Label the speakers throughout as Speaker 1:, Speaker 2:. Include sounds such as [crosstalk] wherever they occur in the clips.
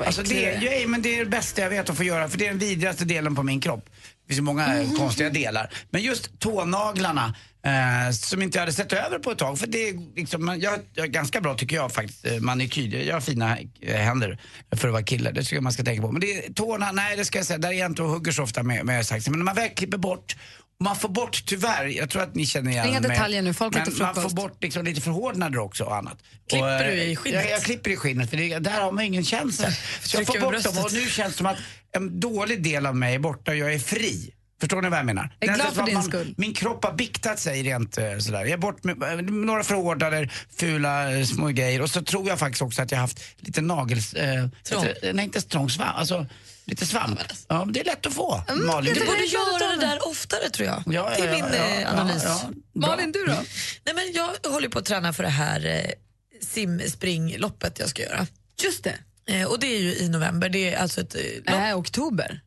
Speaker 1: Alltså det, är, ju- men det är det bästa jag vet att få göra för det är den vidrigaste delen på min kropp. Det finns ju många
Speaker 2: Mhm.
Speaker 1: eh, konstiga delar. Men just tånaglarna eh, som inte jag hade sett över på ett tag. För det är liksom, man- jag, jag är ganska bra tycker jag faktiskt, eh, manikyr. Jag har fina eh, händer för att vara kille. Det tycker jag man ska tänka på. Men det är tårna, nej det ska jag säga, där är jag inte och hugger så ofta med, med saxen. Men när man väl klipper bort man får bort, tyvärr, jag tror att ni känner igen
Speaker 2: Inga
Speaker 1: mig.
Speaker 2: detaljer nu, folk har
Speaker 1: Men
Speaker 2: inte
Speaker 1: man
Speaker 2: frukost.
Speaker 1: får bort liksom lite förhårdnader också och annat.
Speaker 3: Klipper
Speaker 1: och, eh,
Speaker 3: du i skinnet?
Speaker 1: Jag, jag klipper i skinnet för det, där har man ingen känsla. Så jag
Speaker 3: Trycker
Speaker 1: får
Speaker 3: med
Speaker 1: bort dem
Speaker 3: bröstet.
Speaker 1: och nu känns det som att en dålig del av mig är borta och jag är fri. Förstår ni vad jag menar?
Speaker 2: Jag är
Speaker 1: Det
Speaker 2: glad
Speaker 1: känns
Speaker 2: för
Speaker 1: som att
Speaker 2: din
Speaker 1: man,
Speaker 2: skull.
Speaker 1: Min kropp har biktat sig rent eh, sådär. Jag är bort med eh, några förhårdnader, fula eh, små grejer och så tror jag faktiskt också att jag har haft lite nagels... Eh,
Speaker 3: Trång.
Speaker 1: lite- nej, inte trång svamp. Alltså, lite svamp. Ja, men det är lätt att få. Malin.
Speaker 3: Du borde
Speaker 2: är glad
Speaker 3: göra
Speaker 2: över.
Speaker 3: det där oftare tror jag.
Speaker 1: Ja,
Speaker 3: det är
Speaker 1: ja,
Speaker 3: min
Speaker 1: ja,
Speaker 3: eh,
Speaker 1: ja,
Speaker 3: analys.
Speaker 1: ja. Bra.
Speaker 2: Malin, du då?
Speaker 3: Nej, men jag håller på att träna för det här eh, simspringloppet jag ska göra.
Speaker 2: Just det.
Speaker 3: Eh, och det är ju i november. Det är alltså ett eh, lopp.
Speaker 2: Nej, oktober.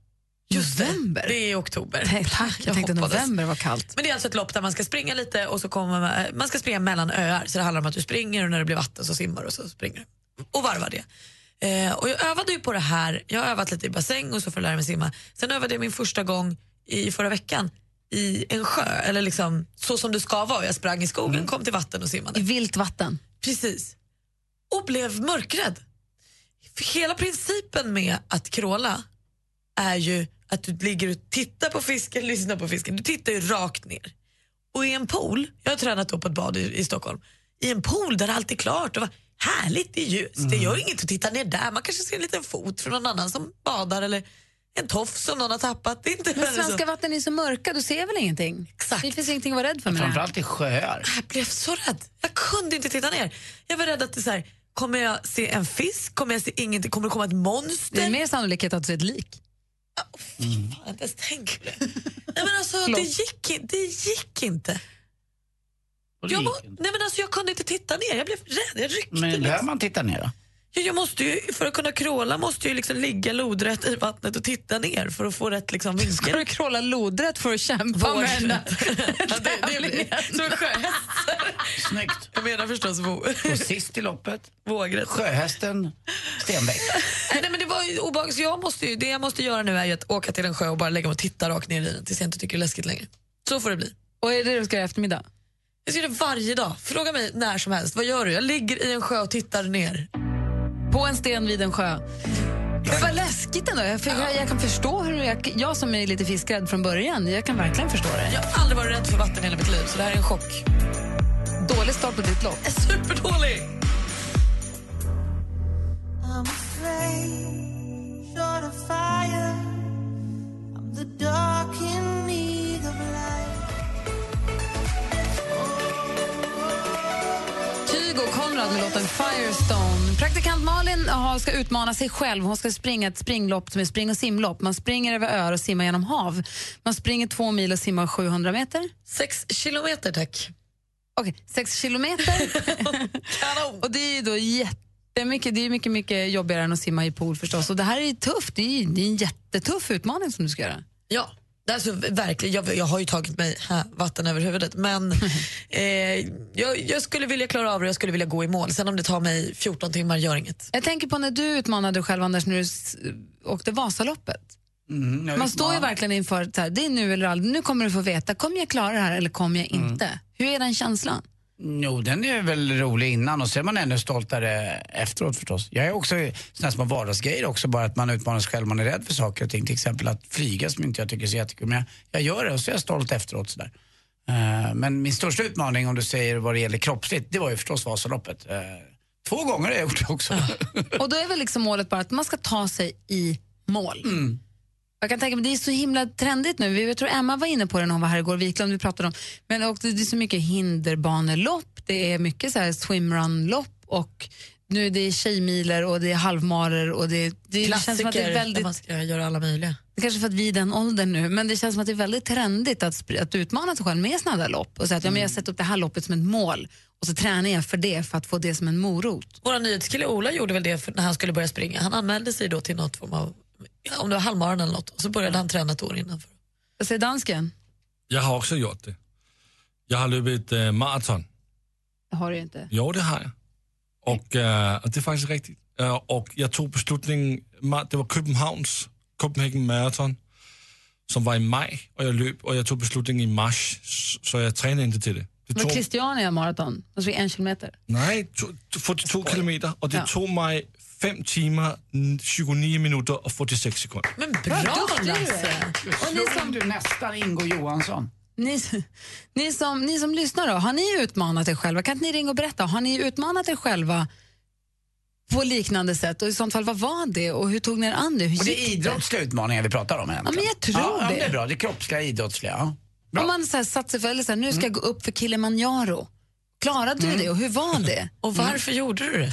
Speaker 3: Just det.
Speaker 2: november?
Speaker 3: Det är i oktober.
Speaker 2: Tack, jag, tänkte
Speaker 3: hoppades.
Speaker 2: november var kallt.
Speaker 3: Men det är alltså ett lopp där man ska springa lite och så kommer man, eh, man ska springa mellan öar. Så det handlar om att du springer och när det blir vatten så simmar du och så springer du. Och varvar det. Eh, och jag övade ju på det här. Jag har övat lite i bassäng och så för att lära mig simma. Sen övade jag min första gång i förra veckan i en sjö, eller liksom så som det ska vara. Jag sprang i skogen, kom till vatten och simmade.
Speaker 2: I vilt vatten.
Speaker 3: Precis. Och blev mörkrädd. För Hela principen med att kråla är ju att du ligger och tittar på fisken, lyssnar på fisken. Du tittar ju rakt ner. Och i en pool, jag har tränat då på ett bad i, i Stockholm, i en pool där allt är klart och vad härligt, det är ljust, det gör inget att titta ner där. Man kanske ser en liten fot från någon annan som badar eller en tofs som någon har tappat. Det är inte liksom-
Speaker 4: Men
Speaker 3: värre än så.
Speaker 4: svenska vatten är så mörka, du ser väl ingenting?
Speaker 3: Exakt.
Speaker 4: Det finns ingenting att vara rädd för med det här.
Speaker 1: Framförallt i sjöar.
Speaker 3: Jag blev så rädd. Jag kunde inte titta ner. Jag var rädd att det så här, kommer jag se en fisk? Kommer jag se ingenting? Kommer det komma ett monster?
Speaker 4: Det är mer sannolikhet att du ser ett lik.
Speaker 3: Fan, jag har inte ens tänkt på det. Nej, men alltså, det, gick, i- det gick inte.
Speaker 1: Och det
Speaker 3: Jag, var,
Speaker 1: gick inte.
Speaker 3: nej, men alltså, jag kunde inte titta ner. Jag blev rädd. Jag ryckte.
Speaker 1: Men behöver
Speaker 3: liksom.
Speaker 1: man titta ner då?
Speaker 3: jag, jag måste ju, för att kunna kråla måste jag ju liksom ligga lodrätt i vattnet och titta ner för att få rätt liksom,
Speaker 4: Ska
Speaker 3: vinkel.
Speaker 4: du kråla lodrätt för att kämpa
Speaker 3: Vår-
Speaker 4: med den där
Speaker 3: [laughs] Ja, det- det
Speaker 4: tävlingen?
Speaker 3: blir- Som en sjöhäst.
Speaker 1: Snyggt.
Speaker 3: Jag menar förstås vå- [laughs]
Speaker 1: Och sist i loppet,
Speaker 3: vågrätt.
Speaker 1: sjöhästen Stenbeck.
Speaker 3: Nej, nej men det var ju obehagligt. Så jag måste ju, det jag måste göra nu är ju att åka till en sjö och bara lägga mig och titta rakt ner i den tills jag inte tycker det är läskigt längre. Så får det bli.
Speaker 4: Och är det det du ska göra i eftermiddag?
Speaker 3: Jag ser det varje dag. Fråga mig när som helst. Vad gör du? Jag ligger i en sjö och tittar ner.
Speaker 4: På en sten vid en sjö. Men vad läskigt ändå. Jag, för, jag, jag kan förstå hur jag, jag som är lite fiskrädd från början, jag kan verkligen förstå det.
Speaker 3: Jag har aldrig varit rädd för vatten i hela mitt liv, så det här är en chock.
Speaker 4: Dålig start på ditt lopp.
Speaker 3: Jag är superdålig!
Speaker 4: Tyg och Konrad med låten Firestone. Praktikant Malin har- ska utmana sig själv. Hon ska springa ett springlopp som är spring och simlopp. Man springer över öar och simmar genom hav. Man springer två mil och simmar 700 meter.
Speaker 3: Sex kilometer, tack.
Speaker 4: Okej, sex kilometer.
Speaker 3: Kanon!
Speaker 4: och det är ju då jättemycket, det är mycket, mycket jobbigare än att simma i pool förstås. Och det här är ju tufft. Det är, ju- det är en jättetuff utmaning som du ska göra.
Speaker 3: Ja, det är alltså, verkligen. Jag, jag har ju tagit mig här, vatten över
Speaker 4: [laughs]
Speaker 3: huvudet men eh, jag, jag skulle vilja klara av det och jag skulle vilja gå i mål. Sen om det tar mig 14 timmar, gör inget.
Speaker 4: Jag tänker på när du utmanade dig själv Anders när du s- åkte Vasaloppet.
Speaker 1: Mm, jag
Speaker 4: Man
Speaker 1: vet-
Speaker 4: står ju
Speaker 1: ja.
Speaker 4: verkligen inför att så här, det är nu eller aldrig. Nu kommer du få veta, kommer jag klara det här eller kommer jag inte? Hur är den känslan?
Speaker 1: Jo, den är väl rolig innan och så är man ännu stoltare efteråt förstås. Jag är också sådana här små vardagsgrejer också, bara att man utmanar sig själv, man är rädd för saker och ting. Till exempel att flyga som inte jag tycker är så jättekul, men jag, jag gör det och så är jag stolt efteråt sådär. Eh, men min största utmaning om du säger vad det gäller kroppsligt, det var ju förstås Vasaloppet. Eh, två gånger har jag gjort det också. [laughs]
Speaker 4: Och då är väl liksom målet bara att man ska ta sig i mål. Jag kan tänka mig, det är så himla trendigt nu. Vi- Jag tror Emma var inne på det när hon var här igår, Wiklund, vi pratade om. Men och det är så mycket hinderbanelopp, det är mycket så här swimrunlopp och nu är det är tjejmiler och det är halvmarer och det, det känns som att det är
Speaker 3: där
Speaker 4: väldigt
Speaker 3: man ska göra alla möjliga.
Speaker 4: Det kanske är för att vi är i den åldern nu, men det känns som att det är väldigt trendigt att, spr- att utmana sig själv med sådana där lopp och säga att ja, men jag sätter upp det här loppet som ett mål och så tränar jag för det för att få det som en morot.
Speaker 3: Vår nyhetskille Ola gjorde väl det för när han skulle börja springa. Han anmälde sig då till något form av, ja, om det var halvmaran eller något, och så började han träna ett år innan. För.
Speaker 4: Vad säger dansken?
Speaker 3: Jag har också gjort det. Jag har löpt eh, maraton.
Speaker 5: Det har du ju inte.
Speaker 3: Jo, det har jag. Och, eh, och det är faktiskt riktigt. Eh, och jag tog beslutningen, ma- det var Köpenhamns, Copenhagen Marathon, som var i maj och jag löp och jag tog beslutningen i mars, s- så jag tränade inte till det. det
Speaker 5: Det var Christiania maraton, alltså en kilometer.
Speaker 3: Nej, to- to- 42 kilometer och det tog mig 5 timmar, n- 29 minuter och 46 sekunder.
Speaker 6: Men
Speaker 5: bra,
Speaker 4: alltså.
Speaker 1: Och ni som... du nästan Ingo Johansson.
Speaker 5: Ni, ni, som, ni som lyssnar då, har ni utmanat er själva? Kan inte ni ringa och berätta? Har ni utmanat er själva på liknande sätt? Och i sånt fall, vad var det? Och hur tog ni er an det? Hur
Speaker 1: Och det
Speaker 5: gick
Speaker 1: är idrottsliga utmaningar vi pratar om egentligen.
Speaker 5: Ja, men jag tror
Speaker 1: ja, Ja,
Speaker 5: det.
Speaker 1: men det är bra. Det är kroppsliga, idrottsliga.
Speaker 5: [laughs]
Speaker 1: Ja.
Speaker 5: det? Om man så här, satt sig för, eller så här, nu ska jag
Speaker 1: Mm.
Speaker 5: gå upp för Kilimanjaro. Klarade du det och hur var
Speaker 1: [laughs]
Speaker 5: det?
Speaker 6: Och varför gjorde du det?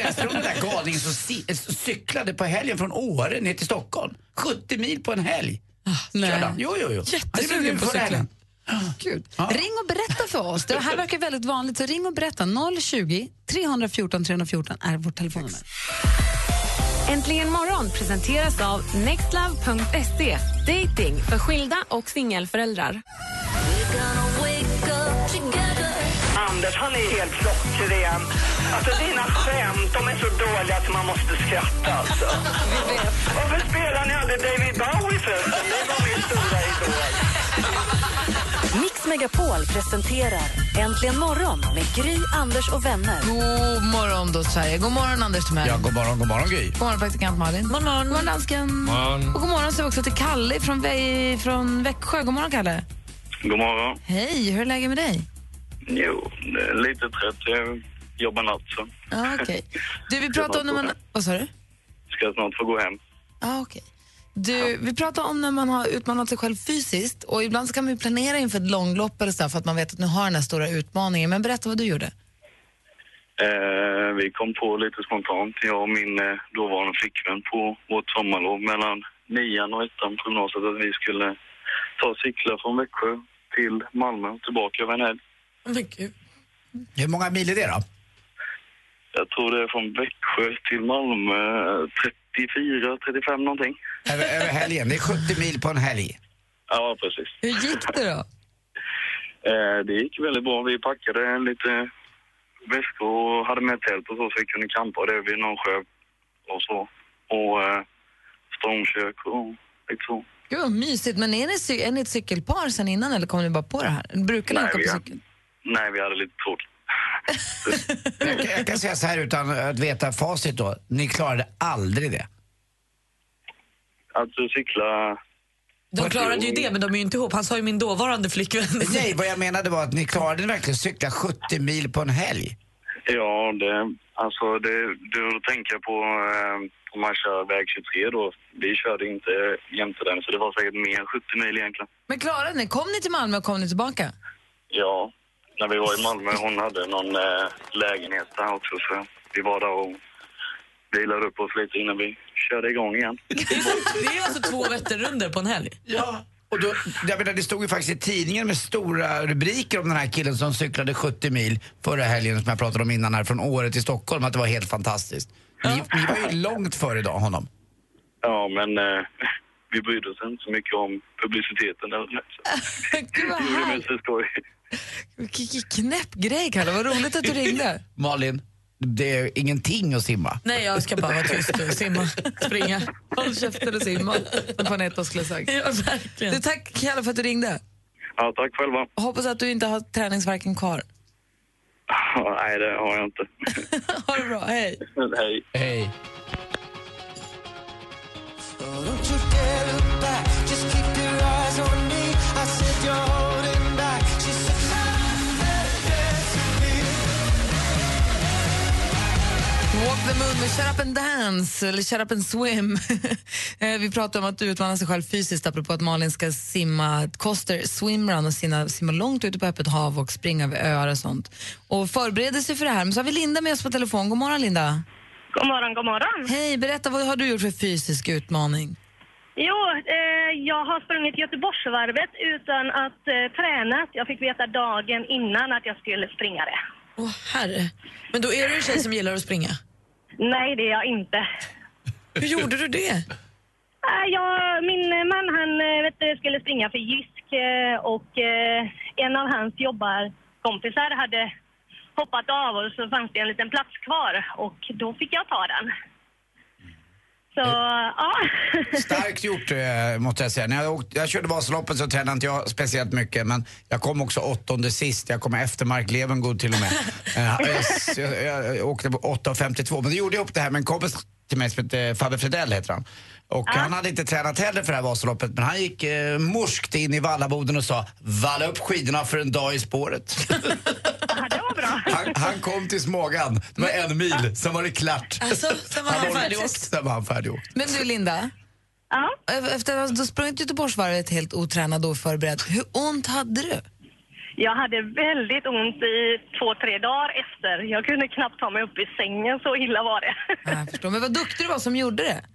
Speaker 1: Jag tror den där galningen som si- eh, cyklade på helgen från Åre ner till Stockholde. 70 mil på en helg.
Speaker 5: Ah, nej.
Speaker 1: Körde han. Jo, jo, jo.
Speaker 5: Jättesugen
Speaker 1: Det blev
Speaker 5: på
Speaker 1: förra
Speaker 5: cykling.
Speaker 1: helgen.
Speaker 5: Gud.
Speaker 1: Ja.
Speaker 5: Mm. Ring och berätta för oss. Det här verkar väldigt vanligt, så ring och berätta. 020 314 314 är vårt telefonnummer.
Speaker 7: Äntligen morgon presenteras av nextlove.se. Dating [laughs] för skilda och singelföräldrar.
Speaker 8: Anders, han är helt klockren. Alltså dina skämt, de är så dåliga att man måste skratta alltså. Varför spelar ni aldrig David Bowie förresten? Det var min stora idol.
Speaker 9: Mix Megapol presenterar Äntligen morgon med Gry, Anders och vänner.
Speaker 4: God morgon då Sverige. God morgon Anders Timell.
Speaker 1: Ja, god morgon, god morgon Gry.
Speaker 4: God morgon praktikant Malin. God morgon, god morgon dansken.
Speaker 1: Morgon.
Speaker 5: Och god morgon säger vi också till Kalle från, Vä- från Växjö. God morgon Kalle.
Speaker 10: God morgon.
Speaker 4: Hej, hur är läget med dig?
Speaker 10: Jo, det är lite trött. Jag jobbar natt så
Speaker 4: Ja, okej. Du, vi pratade om när man... Vad sa du?
Speaker 10: ska jag snart få gå hem.
Speaker 4: Ah, okej. Du, vi pratade om när man har utmanat sig själv fysiskt och ibland så kan man ju planera inför ett långlopp eller så här, för att man vet att nu har den här stora utmaningen. Men berätta vad du gjorde.
Speaker 10: Eh, vi kom på lite spontant, jag och min eh, dåvarande flickvän på vårt sommarlov mellan nian och ettan på gymnasiet att vi skulle ta cyklar från Växjö till Malmö och tillbaka över en helg.
Speaker 6: Men gud.
Speaker 1: Hur många mil är det då?
Speaker 10: Jag tror det är från Växjö till Malmö eh, 34, 35 någonting.
Speaker 1: Över, över helgen. Det är 70 mil på en helg.
Speaker 10: Ja, precis.
Speaker 5: Hur gick det då?
Speaker 10: [laughs] Eh, det gick väldigt bra. Vi packade lite väskor och hade med tält och så, så vi kunde campa det vid någon sjö och så. Och eh, stormkök och lite så.
Speaker 4: Gud vad mysigt. Men är ni, cy- är ni ett cykelpar sen innan eller kom ni bara på det här? Brukar ni
Speaker 10: Nej,
Speaker 4: åka på
Speaker 10: vi-
Speaker 4: cykel?
Speaker 10: Nej, vi hade lite tråkigt.
Speaker 1: Jag, kan- jag kan säga så här utan att veta facit då. Ni klarade
Speaker 5: [laughs]
Speaker 1: aldrig det.
Speaker 10: Alltså cykla...
Speaker 6: De klarade ju det, men de är ju inte ihop. Han sa ju min dåvarande flickvän.
Speaker 1: Nej, vad jag menade var att ni klarade verkligen cykla 70 mil på en helg.
Speaker 10: Ja, det... Alltså, det, du tänker på eh, om man kör väg 23 då. Vi körde inte jämte den, så det var säkert mer än 70 mil egentligen.
Speaker 4: Men klarade ni? Kom ni till Malmö och kom ni tillbaka?
Speaker 10: Ja, när vi var i Malmö, hon hade någon eh, lägenhet där också så vi var där och vilade upp oss lite innan vi körde igång igen.
Speaker 6: [laughs] Det är alltså två Vätternrundor på en helg.
Speaker 1: Ja. Och då, jag menar, det stod ju faktiskt i tidningen med stora rubriker om den här killen som cyklade 70 mil förra helgen som jag pratade om innan här från Åre till Stockholm att det var helt fantastiskt. Ni, ni var ju långt före idag honom.
Speaker 10: Ja, men eh, [laughs] vi brydde oss inte så mycket om publiciteten eller något.
Speaker 4: [laughs] Gud vad
Speaker 10: Vi gjorde mest för skoj.
Speaker 4: Vilken knäpp grej Kalle, vad roligt att du ringde.
Speaker 1: Malin, det är ingenting att simma.
Speaker 6: Nej, jag ska bara vara tyst och simma, springa.
Speaker 4: Håll käften och simma, som Panetta skulle ha sagt.
Speaker 6: [laughs] Ja, verkligen.
Speaker 4: Du, tack Kalle för att du ringde.
Speaker 10: Ja, tack själva.
Speaker 4: Hoppas att du inte har träningsverken kvar.
Speaker 10: Ah, Nej, det har jag inte. [laughs]
Speaker 4: Ha det bra, hej.
Speaker 10: Hej.
Speaker 1: Hej.
Speaker 4: Walk the moon med Shut up and dance, eller Shut up and swim. [laughs] Eh, Vi pratar om att utmana sig själv fysiskt apropå att Malin ska simma koster swimrun och simma, simma långt ute på öppet hav och springa över öar och sånt. Och förbereder sig för det här. Men så har vi Linda med oss på telefon. God morgon Linda.
Speaker 11: God morgon, god morgon.
Speaker 4: Hej, berätta vad har du gjort för fysisk utmaning?
Speaker 11: Jo, eh, jag har sprungit Göteborgsvarvet utan att eh, träna. Jag fick veta dagen innan att jag skulle springa det.
Speaker 6: Åh herre. Men då är du en tjej som gillar att springa?
Speaker 11: Nej, det är jag inte.
Speaker 6: Hur gjorde du det?
Speaker 11: Eh, Jag, min eh, man han eh, vet, du,
Speaker 12: skulle springa för Jysk eh, och eh, en av hans jobbarkompisar hade hoppat av och så fanns det en liten plats kvar och då fick jag ta den. Så ja,
Speaker 1: Starkt gjort eh, måste jag säga. När jag, åkte, jag körde Vasaloppet så tränade inte jag speciellt mycket men jag kom också åttonde sist. Jag kom efter Mark Levengood till och med. Eh, jag, s- jag, jag, åkte på 8.52 men då gjorde jag upp det här med en kompis till mig som heter Fabbe Fredell heter han. Och han hade inte tränat heller för det här Vasaloppet men han gick eh, morskt in i vallaboden och sa valla upp skidorna för en dag i spåret. Han, han kom till Smågan, det var en mil, sen var det klart.
Speaker 3: Alltså, sen var han
Speaker 1: var-
Speaker 3: färdigåkt.
Speaker 1: Sen var han färdigåkt.
Speaker 4: Men du Linda, e- efter att du sprungit Göteborgsvarvet helt otränad och oförberedd, hur ont hade du?
Speaker 12: jag hade väldigt ont i två, tre dagar efter. Jag kunde knappt ta mig upp i sängen, så illa var det.
Speaker 4: Jag förstår, men vad duktig du var som gjorde det.
Speaker 12: [laughs]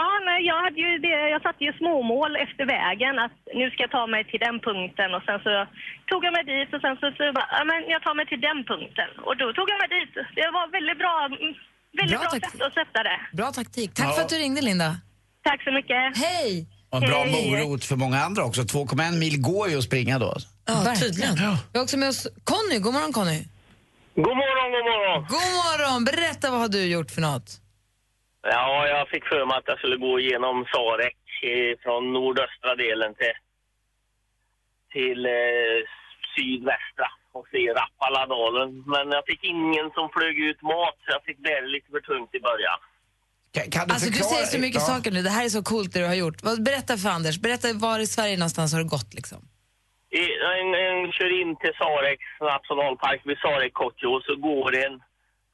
Speaker 12: Ja, nej, jag, hade ju det, jag satte ju småmål efter vägen att nu ska jag ta mig till den punkten och sen så tog jag mig dit och sen så, så bara, ja, men jag tar mig till den punkten och då tog jag mig dit. Det var väldigt bra, mm, väldigt bra, sätt att sätta det.
Speaker 4: Bra taktik. Tack
Speaker 1: Ja.
Speaker 4: för att du ringde Linda.
Speaker 12: Tack så mycket.
Speaker 4: Hej!
Speaker 1: Och en bra
Speaker 4: Hej.
Speaker 1: morot för många andra också. 2,1 mil går ju att springa då.
Speaker 4: Ja, tydligen. Vi har också med oss Conny. God morgon Conny.
Speaker 10: God morgon, god morgon.
Speaker 4: God morgon! Berätta vad har du gjort för något?
Speaker 10: Ja, jag fick för mig att jag skulle gå igenom Sarek eh, från nordöstra delen till, till eh, sydvästra och se Rappaladalen. Men jag fick ingen som flög ut mat, så jag fick bära lite för tungt i början.
Speaker 1: Kan, kan
Speaker 4: Alltså du säger så mycket saker nu, det här är så coolt det du har gjort. Vad- Berätta för Anders, berätta var i Sverige någonstans har du gått liksom?
Speaker 10: I- En, en kör in till Sareks nationalpark vid Sarek-Kottjo och så går den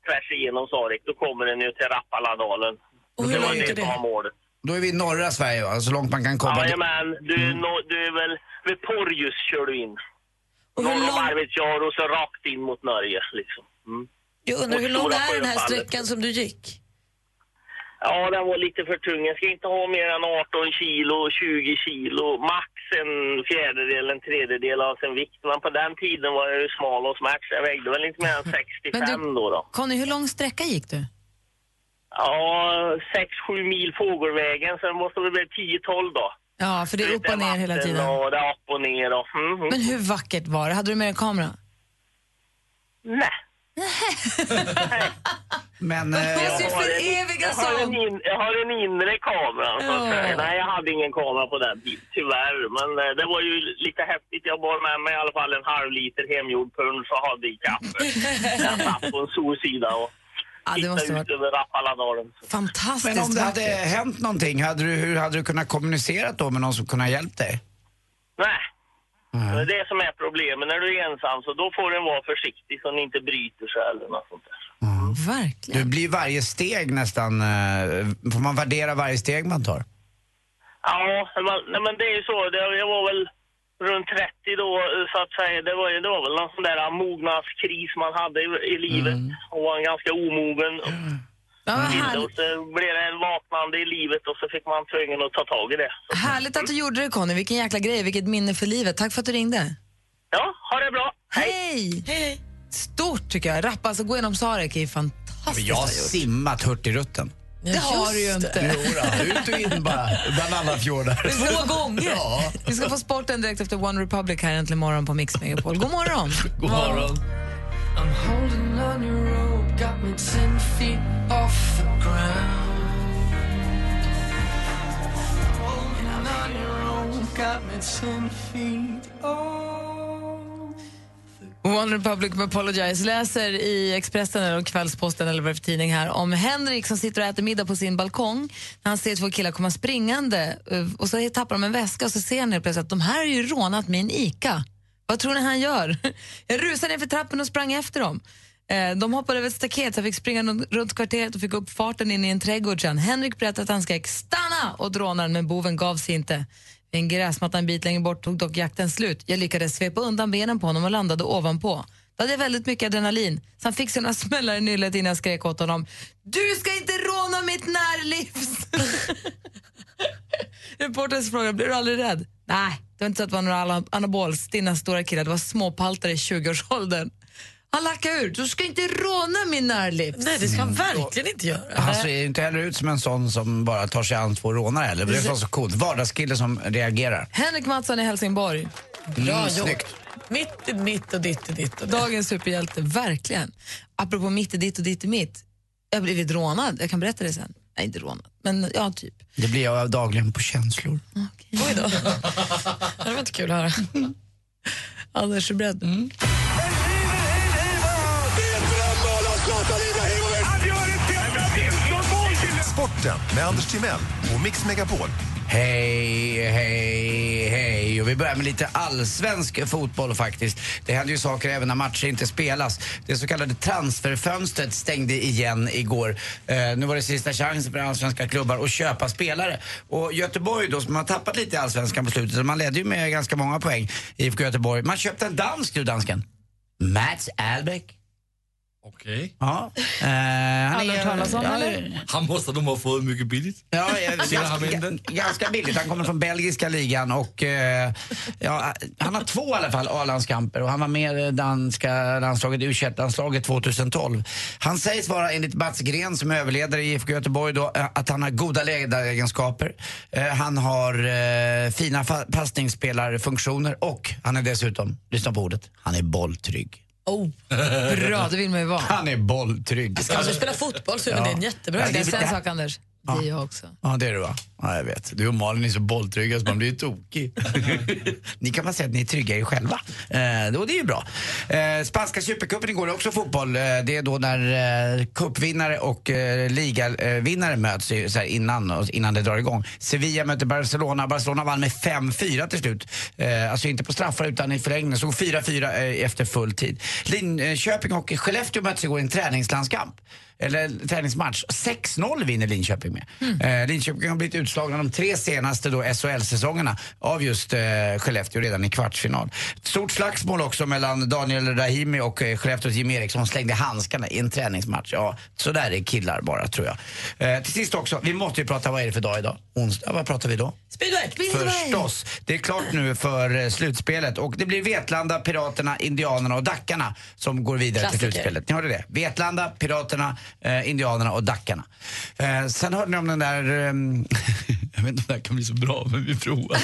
Speaker 10: tvärs igenom Sarek. Då kommer den ju till Rappaladalen. Och det var det som var målet.
Speaker 1: Då är vi i norra Sverige va? Så långt man kan komma.
Speaker 10: Jajamän, du, är nå- du är väl... Vid Porjus kör du in. Norr om Arvidsjaur och så rakt in mot Norge liksom. Mm.
Speaker 3: Jag undrar
Speaker 10: Och
Speaker 3: hur lång
Speaker 10: Stora
Speaker 3: är den här
Speaker 10: Sjöfallet.
Speaker 3: sträckan som du gick?
Speaker 10: Ja, den var lite för tung. Jag ska inte ha mer än 18 kilo, 20 kilo, max en fjärdedel, en tredjedel av sin vikt. Men på den tiden var jag ju smal och smärt, så jag vägde väl inte mer
Speaker 4: [laughs]
Speaker 10: än 65 då. då.
Speaker 4: Conny, hur lång sträcka gick du?
Speaker 10: Ja, 6-7 mil fågelvägen, så det måste väl bli 10-12 då.
Speaker 4: Ja, för det är upp och ner hela
Speaker 10: Vatten
Speaker 4: tiden.
Speaker 10: Och det är upp och ner och... Mm, mm.
Speaker 4: Men hur vackert var det? Hade du med dig kamera?
Speaker 10: Nej.
Speaker 1: Men...
Speaker 10: Jag
Speaker 1: Eh,
Speaker 10: har en- jag har en in- Jag har en inre kamera. så att
Speaker 1: Ja.
Speaker 10: säga. Nej, jag hade ingen kamera på den tiden, tyvärr. Men eh, det var ju lite häftigt. Jag bar med mig i alla fall en halv liter hemgjord punsch och hade i kaffe. Jag satt på en solsida och
Speaker 4: Ja, det måste
Speaker 10: tittade ut över Rappaladalen.
Speaker 4: Fantastiskt
Speaker 1: men om det hade
Speaker 4: vackert.
Speaker 1: hänt någonting, hade du, hur hade du kunnat kommunicera då med någon som kunde ha hjälpt dig?
Speaker 10: Nej. Det är det som är problemet. När du är ensam så då får du vara försiktig så ni inte bryter sig eller något sånt där.
Speaker 4: Verkligen.
Speaker 1: Du blir varje steg nästan... Eh, får man värdera varje steg man tar?
Speaker 10: Ja, men man, nej, men det är ju så. Det, jag var väl runt 30 då, så att säga. Det var, ju- det var väl någon sån där mognadskris man hade i, i livet. Och var ganska omogen. och så blev det en vaknande i livet och så fick man tvungen att ta tag i det.
Speaker 4: Härligt att du gjorde det Conny, vilken jäkla grej, vilket minne för livet. Tack för att du ringde.
Speaker 10: Ja, ha det bra.
Speaker 4: Hej! Hej! Stort tycker jag. Rappa, alltså gå igenom Sarek är ju fantastiskt.
Speaker 1: Jag har simmat Hurtigruten.
Speaker 4: Det har du ju inte.
Speaker 1: Jodå, ut och in bara, bland alla fjordar.
Speaker 4: [laughs] Två gånger. Vi ska få sporten direkt efter One Republic här äntligen morgon på Mix Megapol. God morgon!
Speaker 13: God morgon.
Speaker 14: I'm holding on your rope, got me ten feet off the ground. Holding on your rope, got me ten feet off.
Speaker 4: One Republic med Apologize läser i Expressen eller Kvällsposten eller vad det är för tidning här om Henrik som sitter och äter middag på sin balkong när han ser två killar komma springande eh, och så tappar de en väska och så ser han helt plötsligt att de här har ju rånat min ICA. Vad tror ni han gör? [laughs] Jag rusade ner för trappen och sprang efter dem. Eh, De hoppade över ett staket så jag fick springa runt- runt kvarteret och fick upp farten in i en trädgård sen. Henrik berättade att han skrek stanna åt rånaren men boven gav sig inte. Vid en gräsmatta en bit längre bort tog dock jakten slut. Jag lyckades svepa undan benen på honom och landade ovanpå. Då hade jag väldigt mycket adrenalin, så han fick sig några [laughs] smällar i nyllet innan jag skrek åt honom. Du ska inte råna mitt närlivs! [laughs] Reporters fråga, blir du aldrig rädd? Nej, det var inte så att det var några ala- anabolstinna stora killar, det var småpaltare i 20-årsåldern.
Speaker 3: Han lackade ur. Du ska inte råna min närlips. Nej, det ska han
Speaker 4: Mm.
Speaker 3: verkligen inte göra.
Speaker 1: Han ser ju inte heller ut som en sån som bara tar sig an två rånare heller. Det är så, så coolt. Vardagskille som reagerar.
Speaker 4: Henrik Mattsson i Helsingborg.
Speaker 1: Mm, snyggt.
Speaker 3: Mitt i mitt och ditt i ditt. Och det.
Speaker 4: Dagens superhjälte, verkligen. Apropå mitt i ditt och ditt i mitt. Jag har blivit rånad, jag kan berätta det sen. Nej, inte rånad, men ja, typ.
Speaker 1: Det blir jag dagligen på känslor.
Speaker 3: Oj då. det var inte kul att höra. Mm. Anders, är du beredd?
Speaker 8: Sporten med Anders Timell och Mix Megapol.
Speaker 1: Hej, hej, hej. Och vi börjar med lite allsvensk fotboll faktiskt. Det händer ju saker även när matcher inte spelas. Det så kallade transferfönstret stängde igen igår. Eh, nu var det sista chansen för allsvenska klubbar att köpa spelare. Och Göteborg då, som har tappat lite i allsvenskan på slutet, så man ledde ju med ganska många poäng, IFK Göteborg. Man köpte en dansk du, dansken. Mats Albeck.
Speaker 15: Okej.
Speaker 1: Ja. Eh, han är- ja,
Speaker 15: Han måste de ha fått mycket billigt.
Speaker 1: Ja, eh,
Speaker 15: Ser han in
Speaker 1: ganska,
Speaker 15: den?
Speaker 1: ganska billigt. Han kommer från belgiska ligan och eh, ja, han har två i alla fall A-landskamper och han var med i danska landslaget, U21-landslaget 2012. Han sägs vara, enligt Mats Gren som är överledare i IFK Göteborg, då, eh, att han har goda ledaregenskaper. Eh, han har eh, fina fa- passningsspelarfunktioner och han är dessutom, lyssna på ordet, han är bolltrygg.
Speaker 3: Oh.
Speaker 4: Bra, det vill man ju vara.
Speaker 1: Han är bolltrygg.
Speaker 3: Ska man spela fotboll så är väl
Speaker 1: Ja.
Speaker 3: det en jättebra
Speaker 1: Ja,
Speaker 3: idé.
Speaker 1: det är-
Speaker 4: Sen
Speaker 1: det
Speaker 4: en
Speaker 1: här-
Speaker 4: sak, Anders. Det är jag också.
Speaker 1: Ja, det är du va? Ja, jag vet. Du och Malin är så bolltrygga så man blir ju [laughs] tokig. ni kan bara säga att ni är trygga er själva. Eh, och det är ju bra. Eh, Spanska supercupen igår är också fotboll. Eh, det är då när eh, cupvinnare och eh, ligavinnare möts i- så här innan, innan det drar igång. Sevilla möter Barcelona. Barcelona vann med 5-4 till slut. Eh, alltså inte på straffar utan i förlängningen. Så 4-4 eh, efter full tid. Linköping och Skellefteå möts igår i en träningslandskamp. Eller träningsmatch. 6-0 vinner Linköping med. Eh, Linköping har blivit utslagna de tre senaste då SHL-säsongerna av just eh, Skellefteå redan i kvartsfinal. Stort slagsmål också mellan Daniel Rahimi och eh, Skellefteås Jim Eriksson. Han slängde handskarna i en träningsmatch. Ja, så där är killar bara tror jag. Eh, till sist också, vi måste ju prata, vad är det för dag idag? Onsdag, vad pratar vi då?
Speaker 3: Speedway!
Speaker 1: Förstås. Det är klart nu för eh, slutspelet. Och det blir Vetlanda, Piraterna, Indianerna och Dackarna som går vidare
Speaker 3: Klassiker.
Speaker 1: till slutspelet. Ni hörde det? Vetlanda, Piraterna, eh, Indianerna och Dackarna. Eh, sen hörde ni om den där... ehm, [laughs] jag vet inte om det här kan bli så bra, men vi provar.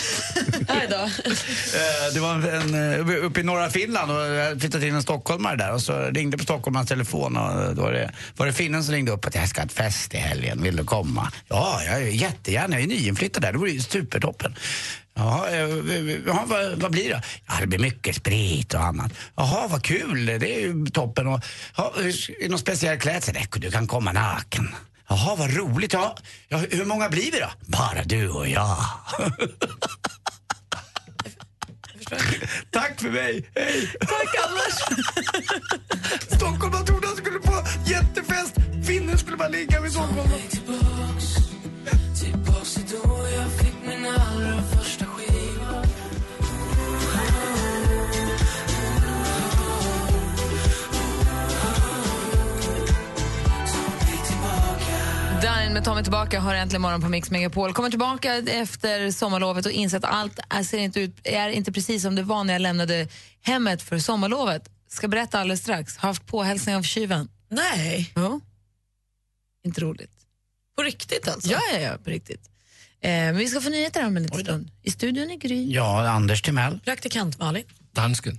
Speaker 3: Nej
Speaker 4: [laughs]
Speaker 3: då.
Speaker 1: Eh, Det var en, en, eh, uppe i norra Finland och jag hade flyttat in en stockholmare där och så ringde på stockholmarens telefon och eh, då var det, var det finnen som ringde upp att jag ska ha ett fest i helgen, vill du komma? Ja, jag är jättegärna, jag är nyinflyttad där, det vore ju supertoppen. Jaha, eh, eh, jaha vad, vad blir det? Ja, det blir mycket sprit och annat. Jaha, vad kul, det är ju toppen. Och, ja, hur s- är det någon speciell klädsel? Nej, du kan komma naken. Jaha, vad roligt. Ja, ja, hur hur många blir vi då? Bara du och jag. Tack för mig, hej!
Speaker 3: Tack Anders!
Speaker 1: Stockholmarna trodde han skulle på jättefest. Finnen skulle bara ligga vid sovrummet.
Speaker 14: Tillbaks till då jag fick min allra första skiva
Speaker 4: Darin med Ta mig tillbaka har äntligen morgon på Mix Megapol. Kommer tillbaka efter sommarlovet och inser att allt är- ser inte ut, är inte precis som det var när jag lämnade hemmet för sommarlovet. Ska berätta alldeles strax. Har haft påhälsning av tjuven.
Speaker 3: Nej.
Speaker 4: Jo. Inte roligt.
Speaker 3: På riktigt alltså?
Speaker 4: Ja, ja, ja, på riktigt. Eh, men vi ska få nyheter om en liten stund. I studion är Gry.
Speaker 1: Ja, Anders Timell.
Speaker 3: Praktikant Malin.
Speaker 15: Dansken.